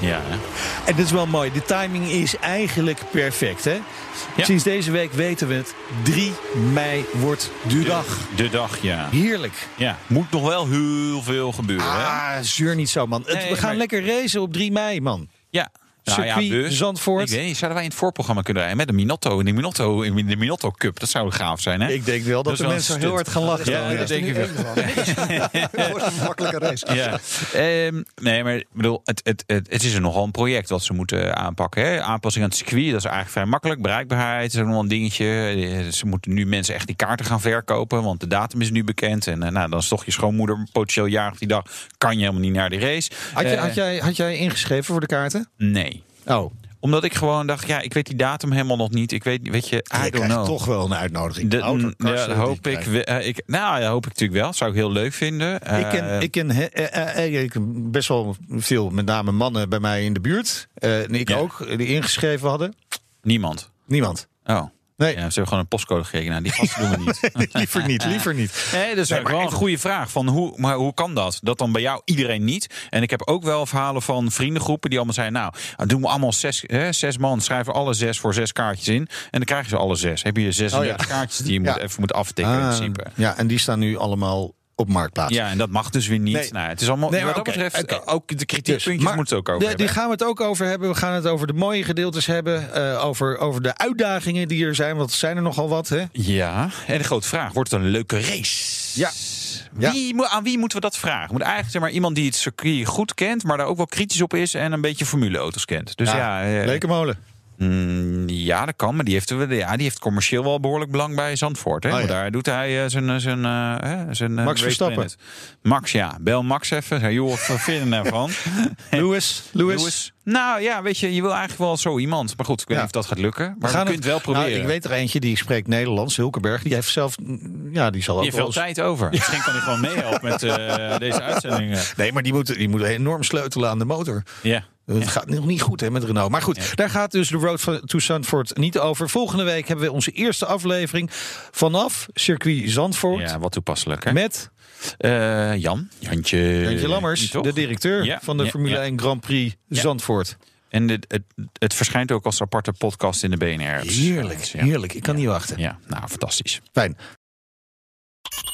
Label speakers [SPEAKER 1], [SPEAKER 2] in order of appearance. [SPEAKER 1] Ja, hè?
[SPEAKER 2] En dat is wel mooi. De timing is eigenlijk perfect, hè?
[SPEAKER 1] Ja.
[SPEAKER 2] Sinds deze week weten we het. 3 mei wordt de dag.
[SPEAKER 1] de dag, ja.
[SPEAKER 2] Heerlijk.
[SPEAKER 1] ja. Moet nog wel heel veel gebeuren. Hè?
[SPEAKER 2] Ah, zuur niet zo, man. Het-
[SPEAKER 1] Nee,
[SPEAKER 2] we gaan
[SPEAKER 1] maar-
[SPEAKER 2] lekker racen op 3 mei, man.
[SPEAKER 1] Ja. dus.
[SPEAKER 2] Circuit Zandvoort.
[SPEAKER 1] Ik weet niet, zouden wij in het voorprogramma kunnen rijden met een Minotto in de Minotto, in de Minotto Cup? Dat zou gaaf zijn, hè?
[SPEAKER 2] Ik denk wel dat,
[SPEAKER 1] Dat is
[SPEAKER 2] de
[SPEAKER 1] wel
[SPEAKER 2] mensen
[SPEAKER 1] een
[SPEAKER 2] heel
[SPEAKER 1] stunt.
[SPEAKER 2] hard gaan lachen.
[SPEAKER 1] Ja,
[SPEAKER 2] dan,
[SPEAKER 1] dat
[SPEAKER 2] ja.
[SPEAKER 1] denk ik wel.
[SPEAKER 3] Het wordt een makkelijke race.
[SPEAKER 1] Ja. Ehm, nee, maar ik bedoel, het, het, het, het is er nogal een project wat ze moeten aanpakken. Hè? Aanpassing aan het circuit, dat is eigenlijk vrij makkelijk. Bereikbaarheid is ook nog wel een dingetje. Eh, Ze moeten nu mensen echt die kaarten gaan verkopen, want de datum is nu bekend. En eh, nou, dan is toch je schoonmoeder potentieel jarig die dag. Kan je helemaal niet naar die race.
[SPEAKER 2] Had, je,
[SPEAKER 1] Eh,
[SPEAKER 2] had, jij, had jij ingeschreven voor de kaarten?
[SPEAKER 1] Nee.
[SPEAKER 2] Oh,
[SPEAKER 1] Omdat ik gewoon dacht, ja, ik weet die datum helemaal nog niet. Ik weet, weet je, I
[SPEAKER 3] Je
[SPEAKER 1] don't
[SPEAKER 3] krijgt
[SPEAKER 1] know.
[SPEAKER 3] toch wel een uitnodiging.
[SPEAKER 1] De- mm,
[SPEAKER 3] Wouter
[SPEAKER 1] ja,
[SPEAKER 3] Karsen,
[SPEAKER 1] dat
[SPEAKER 3] die
[SPEAKER 1] hoop ik,
[SPEAKER 3] krijgt-
[SPEAKER 1] we- eh, ik. Nou, ja, hoop ik natuurlijk wel. Zou ik heel leuk vinden.
[SPEAKER 2] Ik ken,
[SPEAKER 1] Eh,
[SPEAKER 2] ik, ken, he- eh, eh, eh, ik ken best wel veel, met name mannen bij mij in de buurt. Eh, en ik
[SPEAKER 1] Ja.
[SPEAKER 2] ook, eh, die ingeschreven hadden.
[SPEAKER 1] Niemand.
[SPEAKER 2] Niemand.
[SPEAKER 1] Oh.
[SPEAKER 2] Nee,
[SPEAKER 1] Ja, ze hebben gewoon een postcode gekeken. Nou, die gasten doen we niet.
[SPEAKER 2] liever niet, liever niet.
[SPEAKER 1] Nee, dat is
[SPEAKER 2] Nee,
[SPEAKER 1] ook
[SPEAKER 2] maar
[SPEAKER 1] wel
[SPEAKER 2] echt-
[SPEAKER 1] een goede vraag. Van hoe, maar hoe kan dat? Dat dan bij jou iedereen niet. En ik heb ook wel verhalen van vriendengroepen die allemaal zeiden... nou, dan doen we allemaal zes, hè, zes man. Schrijven alle zes voor zes kaartjes in. En dan krijgen ze alle zes. Heb je 36 kaartjes die je moet,
[SPEAKER 2] Oh, Ja.
[SPEAKER 1] even moet aftikken in
[SPEAKER 2] Ah,
[SPEAKER 1] principe.
[SPEAKER 2] ja, en die staan nu allemaal op marktplaats.
[SPEAKER 1] Ja, en dat mag dus weer niet.
[SPEAKER 2] Nee.
[SPEAKER 1] Nou, het is allemaal,
[SPEAKER 2] Nee,
[SPEAKER 1] wat
[SPEAKER 2] maar
[SPEAKER 1] dat
[SPEAKER 2] oké,
[SPEAKER 1] betreft,
[SPEAKER 2] oké.
[SPEAKER 1] eh, ook de kritiekpuntjes
[SPEAKER 2] Dus, maar-
[SPEAKER 1] moeten we ook over
[SPEAKER 2] Ja,
[SPEAKER 1] hebben.
[SPEAKER 2] die gaan we het ook over hebben. We gaan het over de mooie gedeeltes hebben. eh, over, over de uitdagingen die er zijn. Want er zijn er nogal wat, hè?
[SPEAKER 1] Ja, en de grote vraag: wordt het een leuke race?
[SPEAKER 2] Ja.
[SPEAKER 1] Wie, mo- aan wie moeten we dat vragen? Moet eigenlijk zeg maar, iemand die het circuit goed kent, maar daar ook wel kritisch op is en een beetje formuleauto's kent. Dus ja, eh,
[SPEAKER 2] Lekenmolen.
[SPEAKER 1] mm, ja dat kan, maar die heeft, eh, ja, die heeft commercieel wel behoorlijk belang bij Zandvoort. Hè?
[SPEAKER 2] Oh,
[SPEAKER 1] Want
[SPEAKER 2] ja.
[SPEAKER 1] daar doet hij eh, zijn. eh, zijn, eh, hè, zijn eh, Race
[SPEAKER 2] Verstappen.
[SPEAKER 1] Planet. Max, ja. Bel Max even. Zeg, joh, wat vind je daarvan?
[SPEAKER 2] Louis, Louis.
[SPEAKER 1] Lewis. Nou ja, weet je, je wil eigenlijk wel zo iemand. Maar goed, ik weet
[SPEAKER 2] Ja.
[SPEAKER 1] niet of dat gaat lukken. Maar we,
[SPEAKER 2] gaan
[SPEAKER 1] kunnen het wel proberen.
[SPEAKER 2] Nou, ik weet er eentje die spreekt Nederlands, Hulkenberg. Die heeft zelf. mm, Ja, die zal ook
[SPEAKER 1] je hebt
[SPEAKER 2] wel
[SPEAKER 1] veel
[SPEAKER 2] eens-
[SPEAKER 1] tijd over. Misschien kan ik gewoon meehelpen met eh, deze uitzendingen.
[SPEAKER 2] Nee, maar die moet, die moet enorm sleutelen aan de motor.
[SPEAKER 1] Ja.
[SPEAKER 2] Het gaat nog niet goed hè, met Renault. Maar goed, daar gaat dus de Road to Zandvoort niet over. Volgende week hebben we onze eerste aflevering vanaf circuit Zandvoort.
[SPEAKER 1] ja, wat toepasselijk. Hè?
[SPEAKER 2] Met
[SPEAKER 1] Eh, Jan. Jantje.
[SPEAKER 2] Jantje Lammers,
[SPEAKER 1] Niet, toch?
[SPEAKER 2] de directeur
[SPEAKER 1] Ja,
[SPEAKER 2] van de
[SPEAKER 1] ja,
[SPEAKER 2] Formule
[SPEAKER 1] ja.
[SPEAKER 2] 1 Grand Prix Zandvoort.
[SPEAKER 1] En het, het, het verschijnt ook als aparte podcast in de BNR.
[SPEAKER 2] Heerlijk,
[SPEAKER 1] Ja.
[SPEAKER 2] heerlijk. Ik kan niet wachten.
[SPEAKER 1] Ja, nou, fantastisch.
[SPEAKER 2] Fijn.